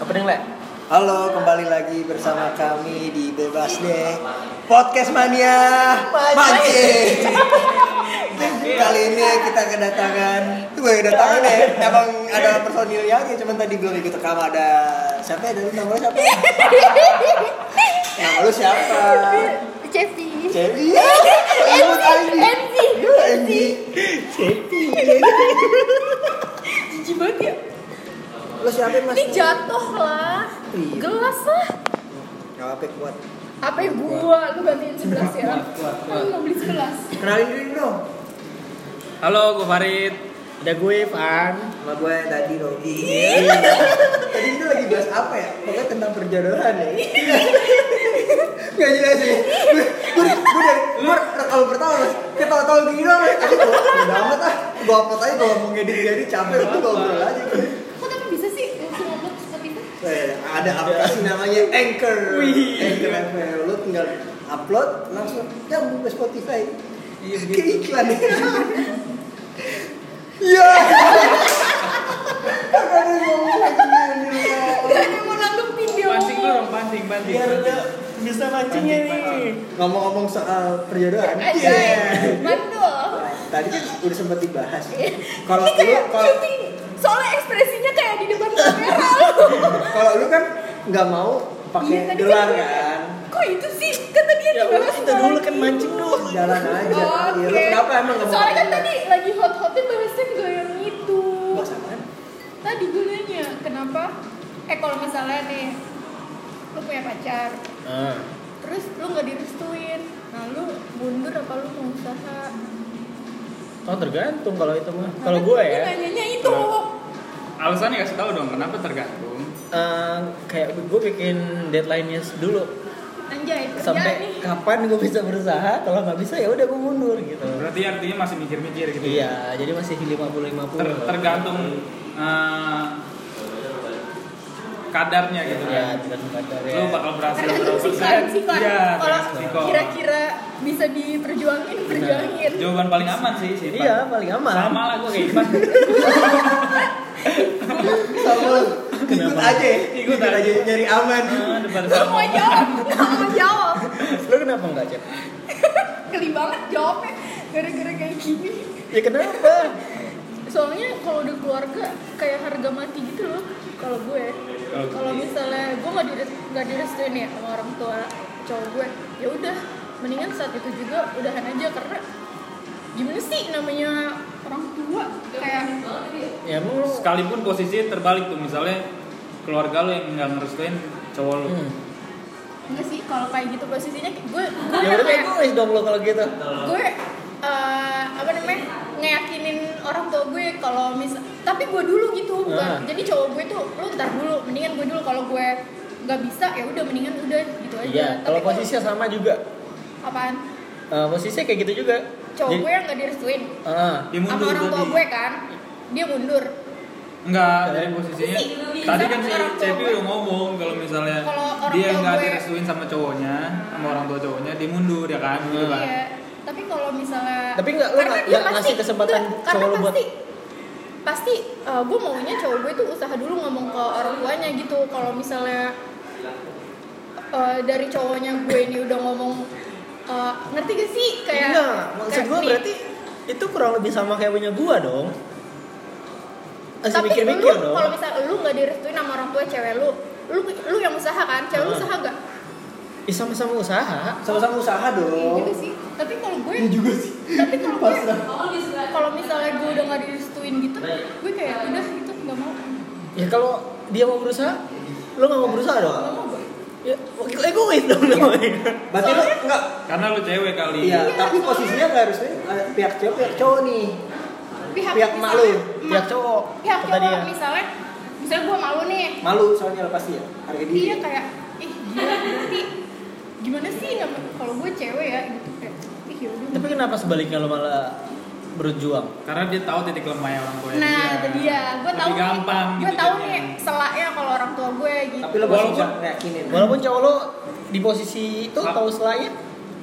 Opening lah. Halo, kembali lagi bersama kami di Bebas Deh Podcast Mania Mancing. Kali ini kita kedatangan, tuh gue kedatangan ya. Emang ada personilnya aja, cuman tadi belum ikut rekam ada siapa ya? Dari nama lu siapa? Nama lu siapa? Cepi. Cepi. Iya, imut Andi. Enzi. Iya, Andi. Cepi. Jijik banget ya. Lu siapa mas? Ini jatuh lah. Iya. Gelas lah. Gak apa kuat. Apa yang gua lu gantiin sebelas ya? Kuat, kuat, kuat. Kan mau beli sebelas. Kenalin diri dong. Halo, gue Farid. Ada gue Van. sama gue tadi Rogi tadi kita lagi bahas apa ya pokoknya tentang perjodohan ya nggak jelas sih gue gue gue dari gue kalau pertama mas kita tahu gini doang mas aku tuh udah amat ah gue upload aja kalau mau ngedit ngedit capek gue ngobrol aja gue Kok tapi bisa sih langsung upload Spotify? Eh, ada aplikasi namanya Anchor Wih. Anchor FM lu tinggal upload langsung nyambung ke Spotify Iya, ke iklan ya Kakak ada yang ngomong lagi, Gak Daniel. ada yang mau nanggepin dia Pancing lu ngomong. dong, pancing, pancing. biar dia bisa mancingnya nih ngomong-ngomong soal perjodohan Aja. Iya. Mandul. tadi kan udah sempat dibahas Iya. kalau Ini lu kayak kalau syuting. Soalnya ekspresinya kayak di depan kamera lu. kalau lu kan nggak mau Iya, pakai tadi gelar kan- kan Kok itu sih? Kan tadi yang ya udah dibahas kita dulu kan lagi. mancing dulu jalan aja Oke. Iya, lu kenapa emang nggak mau Soalnya kan pakai gelar? tadi lagi hot-hotnya bahasan gue yang itu. Bahas apaan? Tadi gue nanya, kenapa? Eh kalau misalnya nih, lu punya pacar, Ah, terus lu nggak direstuin, nah lu mundur apa lu mau usaha? Oh tergantung kalau itu mah. Nah, Kalau kan gue Gue ya, nanyanya itu. alasannya kasih tahu dong kenapa tergantung eh, kayak gue bikin deadline-nya dulu Anjay, kerja nih. Iya sampai kapan gue bisa berusaha. Kalau nggak bisa ya udah gue mundur gitu. berarti artinya masih mikir-mikir gitu Iya, jadi masih 50 Ter- 50. tergantung eh, kadarnya gitu Ya, kan tergantung kadar ya. lu bakal berhasil Tergantung sikon, sikon. Iya, kalau sikon. kira-kira bisa diperjuangin, perjuangin. jawaban paling aman sih sih Iya, paling aman. sama lah gue kayak Ipan sama lu ikut aja ya Ikut aja. nyari aman Eh, depan Gak sama mau jawab, gak mau jawab. Lu kenapa nggak cek? Geli banget jawabnya, gara-gara kayak gini. Ya kenapa? soalnya kalau udah keluarga kayak harga mati gitu loh kalau gue Oh, kalau iya. gitu. misalnya gue nggak dire nggak direstuin ya sama orang tua cowok gue ya udah mendingan saat itu juga udahan aja karena gimana sih namanya orang tua kayak ya emang lu sekalipun posisi terbalik tuh misalnya keluarga lu yang nggak ngerestuin cowok lu Hmm. enggak sih kalau kayak gitu posisinya kayak gue gue Ya udah kayak egois dong lo kalau gitu. gue eh, apa namanya ngeyakinin orang tua gue kalau misal tapi gue dulu gitu Ah. bukan jadi cowok gue tuh lu ntar dulu mendingan gue dulu kalau gue nggak bisa ya udah mendingan udah gitu aja Iya, Tapi kalau posisinya sama juga. apaan Eh, posisinya kayak gitu juga. cowok Jadi- gue yang nggak direstuin Ah, dia sama mundur orang tua berarti. gue kan dia mundur Enggak, dari posisinya Sih, bisa Tadi kan si orang tua Cepi gue. udah ngomong kalau misalnya Kalau orang Dia tua nggak gue- direstuin sama cowoknya Sama orang tua cowoknya, dia mundur ya kan gitu kan Iya. Tapi kalau misalnya Tapi nggak, lu Karena nggak- dia nggak pasti- ngasih kesempatan nggak, karena cowok lu buat- pasti, pasti gue maunya cowok gue tuh usaha dulu ngomong ke orang tuanya gitu kalau misalnya eh, dari cowoknya gue ini udah ngomong eh, ngerti gak sih kayak Enggak, maksud kayak gue nih, berarti itu kurang lebih sama kayak punya gua dong. Masih tapi mikir-mikir lu dong. kalau misalnya lu nggak direstuin sama orang tua cewek lu lu lu yang usaha kan cewek lu Ah. usaha nggak Ih, sama-sama usaha. sama-sama usaha Iya dong juga sih tapi kalau gue Iya juga sih tapi kalau gue Pasrah. kalau misalnya gue udah nggak direstuin gitu gue kayak udah itu nggak mau Ya kalau dia mau berusaha, lo nggak mau berusaha dong. nggak mau Iya. gue Ya, egois dong namanya. berarti lu enggak Karena lu cewek kali iya Iya, tapi soalnya- posisinya nggak harusnya eh, pihak cewek pihak cowok nih pihak pihak emak lu Pihak cowok. pihak kata cowok dia. Iya. misalnya misalnya gue malu nih malu soalnya lo pasti ya harga diri dia kayak ih gila berarti gimana sih nama kalau gue cewek ya gitu kayak ih yaudah Tapi kenapa sebaliknya lo malah berjuang? Karena dia tahu titik lemahnya orang tua nah itu dia gue tahu Lebih Iya. gampang nih, gue gitu tahu nih jadinya. selaknya kalau orang tua gue gitu tapi lo pasti bisa Walaupun- ngeyakinin Walaupun cowok lo di posisi itu Ap- tahu selanya.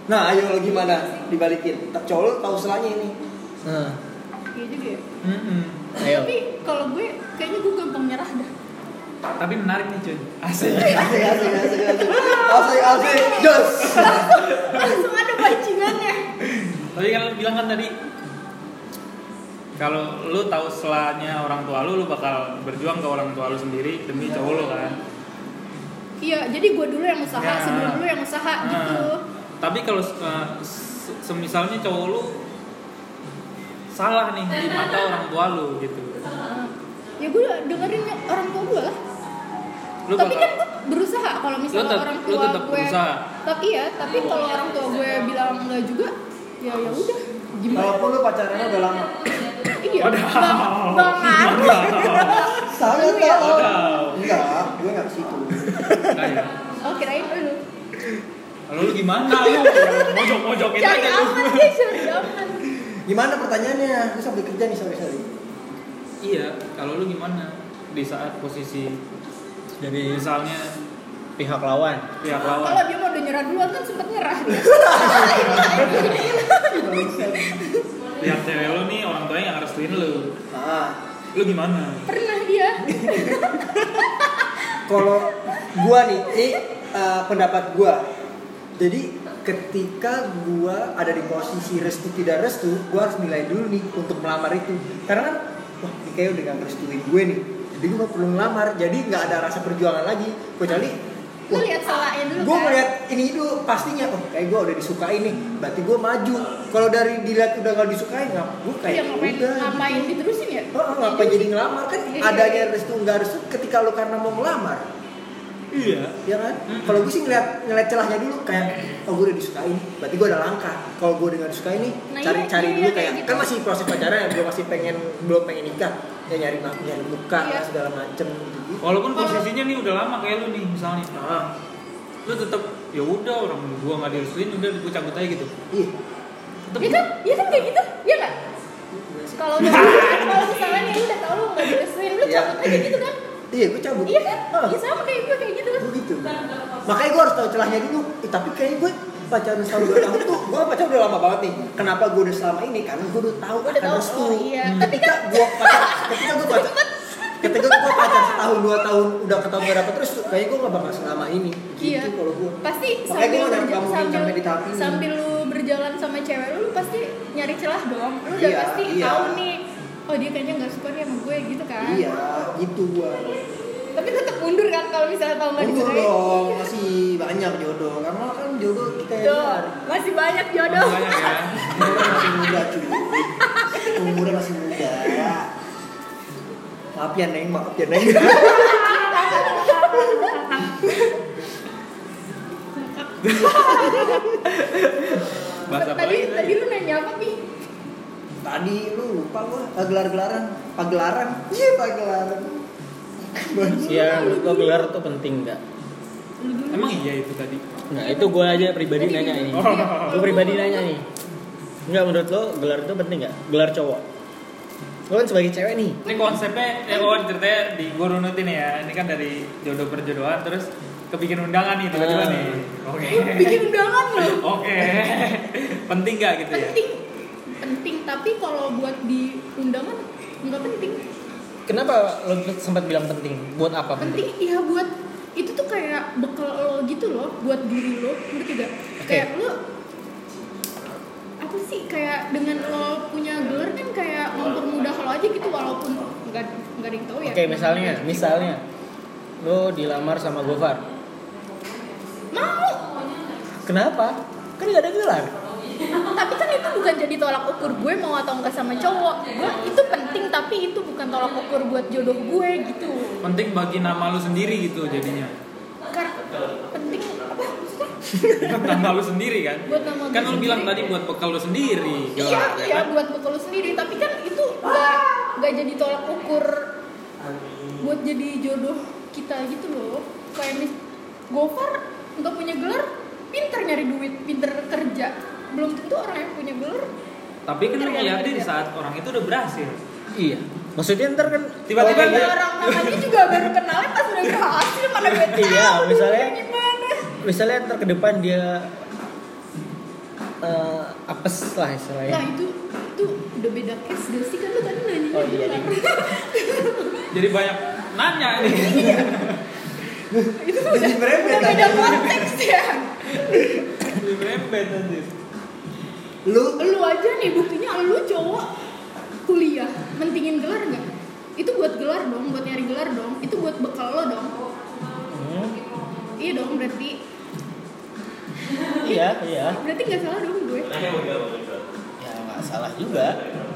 nah ayo lo gimana dibalikin Tak cowok lo tahu selanya ini Nah, Iya juga ya. Mm-mm. ayo. tapi kalau gue kayaknya gue gampang nyerah dah Tapi menarik nih cuy. Asik. Asik, asik, asik, asik. Asik, asik. Jos. langsung ada pancingannya Tapi kan lu bilang kan tadi kalau lu tahu selanya orang tua lu, lu bakal berjuang ke orang tua lu sendiri demi cowok lu kan. iya jadi gue dulu yang usaha Ya. sebelum dulu yang usaha Nah, gitu Tapi kalau uh, se- semisalnya cowok lu salah nih di mata orang tua lu gitu. ya gue dengerin yang orang tua gue lah Lu tapi bakal kan gue berusaha kalau misalnya tet- orang lu tua tetap gue berusaha. tapi iya tapi kalau orang tua gue bilang enggak juga ya ya udah gimana Walaupun lu pacarannya udah lama. iya bang bang ngaruh Sangat Lu ya? tahu. Enggak, gue nggak ke situ. Nah, ya. oh kirain lu Lalu lu gimana lu? Mojok-mojokin cari aja lu. aman ya cari aman Gimana pertanyaannya? Lu sambil kerja nih sore-sore. Iya, kalau lu gimana di saat posisi dari misalnya pihak lawan pihak kalau lawan dia mau udah nyerah duluan kan sempet nyerah dia pihak cewek lu nih orang tuanya yang restuin lu Ah, lu gimana pernah iya. dia kalau gua nih, ini eh, pendapat gua. Jadi ketika gua ada di posisi restu tidak restu, gua harus nilai dulu nih untuk melamar itu. Karena kan, wah ini kayaknya udah gak restuin gue nih. Jadi gue gak perlu ngelamar, jadi nggak ada rasa perjuangan lagi. Kecuali, lu wah lihat salahnya dulu gue kan? ngeliat ini dulu pastinya, oh kayak gue udah disukai nih, berarti gue maju. Kalau dari dilihat udah gak disukai, nggak gue Iya, kayak ngapain udah. ngapain diterusin ya Oh, ngapain jadi ngelamar kan Iya. adanya restu nggak restu ketika lu karena mau ngelamar iya ya kan kalau gue sih ngeliat ngeliat celahnya dulu kayak oh gue udah disukai nih berarti gue udah langkah kalau gue udah nggak disukai nih Nah, cari iya, cari iya, dulu kayak kayak gitu. kan masih proses pacaran gue masih pengen belum pengen nikah ya nyari ma- nyari muka Iya. lah, segala macem gitu gitu walaupun posisinya nih udah lama kayak lu nih misalnya ah lu tetep ya udah orang gua nggak direstuin udah gua cabut aja gitu iya tetep Iya kan? Iya kan kayak gitu? Iya nggak? Kalau udah kalau misalnya nih udah tau lu nggak direstuin lu Iya. cabut aja gitu kan? iya gue cabut Iya kan? Ah, Iya sama kayak gue kayak gitu kan? gue gitu makanya gue harus tahu celahnya dulu Eh, tapi kayaknya gue pacaran selama dua tahun tuh gue pacaran udah lama banget nih kenapa gue udah selama ini karena gue udah tahu Udah akan tahu, restu Hmm. oh iya. Tapi ketika gue pacar ketika gue pacar ketika gue pacar setahun dua tahun udah ketahuan gak dapet restu kayaknya gue gak bakal selama ini gitu Iya. kalau gue Pasti Makanya sambil gua nggak berja- mungkin sambil sampai di tahap ini. sambil lu berjalan sama cewek lu, lu pasti nyari celah dong. Lu udah Iya, pasti iya. tahu nih. Oh dia kayaknya nggak suka nih sama gue gitu kan? iya gitu gue Tapi tetap mundur kan kalau misalnya tau nggak mundur disukai. dong masih banyak jodoh karena kan jodoh kita yang Tuh, Iya. masih banyak jodoh. banyak ya Umurnya masih muda cuy Umurnya masih muda Maaf ya Neng, maaf ya Neng bahasa apa tadi lagi tadi lu nanya apa pi? Tadi lu lupa gua eh, Gelar-gelaran Pagelaran Iya pagelaran ya menurut lo gelar tuh penting nggak emang iya itu tadi nah itu gue aja pribadi Tadi nanya gitu. ini Iya, gue pribadi nanya nih nggak menurut lo gelar itu penting nggak gelar cowok lo kan sebagai cewek nih ini konsepnya ya kawan ceritanya di gua runutin ya ini kan dari jodoh perjodohan terus kebikin undangan nih tiba-tiba Ah. nih oke Lu bikin undangan lu. Iya. oke penting nggak gitu ya penting penting tapi kalau buat di undangan nggak penting kenapa lo sempat bilang penting buat apa penting penting ya buat itu tuh kayak bekal lo gitu loh buat diri lo ngerti gak kayak lo apa sih kayak dengan lo punya gelar kan kayak mempermudah lo aja gitu walaupun nggak nggak ada yang tahu ya oke misalnya misalnya lo dilamar sama Gofar mau kenapa kan nggak ada gelar tapi kan itu bukan jadi tolak ukur gue mau atau enggak sama cowok gue itu penting tapi itu bukan tolak ukur buat jodoh gue gitu penting bagi nama lu sendiri gitu jadinya karena penting apa maksudnya nama lu sendiri kan Buat nama kan gue lu bilang sendiri. tadi buat bekal lu sendiri Iya, Gelar, ya iya kan? buat bekal lu sendiri, tapi kan itu nggak nggak jadi tolak ukur buat jadi jodoh kita gitu loh. Kayak mis Gofar nggak punya gelar, pinter nyari duit, pinter kerja. Belum tentu orang yang punya gelar. tapi Iya, kan lu ngeliatnya di saat orang itu udah berhasil iya maksudnya ntar kan Tiba-tiba Oke, Ada orang namanya juga baru kenalnya pas udah berhasil, mana gue tahu Iya, dulu misalnya- dia gimana. misalnya ntar ke depan dia eh, apes lah Nah istilahnya itu itu udah beda case gak sih kan lu tadi nanya Oh, iya, iya. jadi banyak nanya Iya. nih itu tuh Jadi udah, merembet udah beda lagi. konteks ya lebih rembet anjir Lu lu aja nih buktinya lu cowok kuliah mentingin gelar nggak itu buat gelar dong buat nyari gelar dong itu buat bekal lo dong Hmm, iya dong berarti iya iya berarti nggak salah dong gue ya nggak salah juga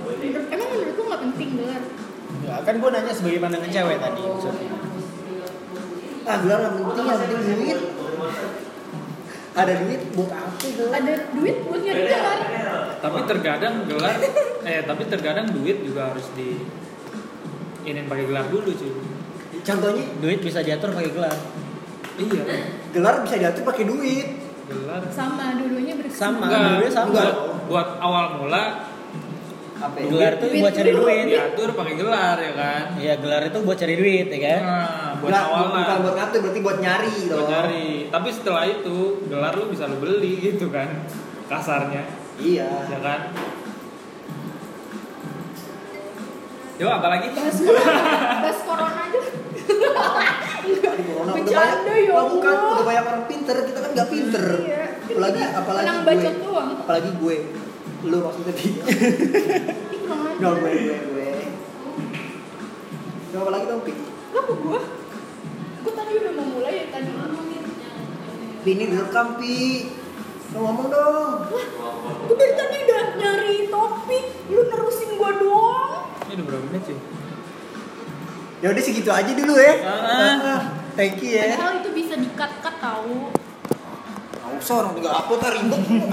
Menurut- emang menurut lu nggak penting gelar ya, kan gue nanya sebagai pandangan cewek tadi maksudnya. ah gelar yang Oh, penting yang penting duit. Ada duit buat apa gelar? ada duit buat nyari gelar tapi terkadang gelar eh tapi terkadang duit juga harus di inin pakai gelar dulu cuy Contohnya duit bisa diatur pakai gelar iya gelar bisa diatur pakai duit. gelar sama dua-duanya bersih Sama. Enggak, duitnya sama. buat, buat awal mula Apa? ya? gelar tuh Duit buat cari dulu. duit diatur pakai gelar ya kan Iya gelar itu buat cari duit ya kan nah, buat Gelar awal bukan lah buat ngatur berarti buat nyari buat dong. nyari tapi setelah itu gelar lu bisa lu beli gitu kan kasarnya Iya. ya kan Yo, apalagi bahas corona bahas corona aja Di corona udah Bercanda, banyak- ya Wah, bukan, Allah. udah banyak orang pinter, kita kan nggak pinter. Iya. Apalagi Kita apalagi menang gue. bacot doang. Apalagi gue. Lu maksudnya di. Ih, kurang ajar. Dong gue gue gue. Coba apalagi dong Pik. Lah, kok gua gua tadi udah mau mulai ya tadi ngomongin Pi, Ini direkam Pi. Lu ngomong dong. gua dari tadi udah nyari topik lu nerusin gua doang ini udah berapa menit sih Ya udah segitu aja dulu ya. Ah. Ah, Thank you ya. padahal itu bisa dikat-kat tahu Nggak usah orang tinggal upload ntar ribet.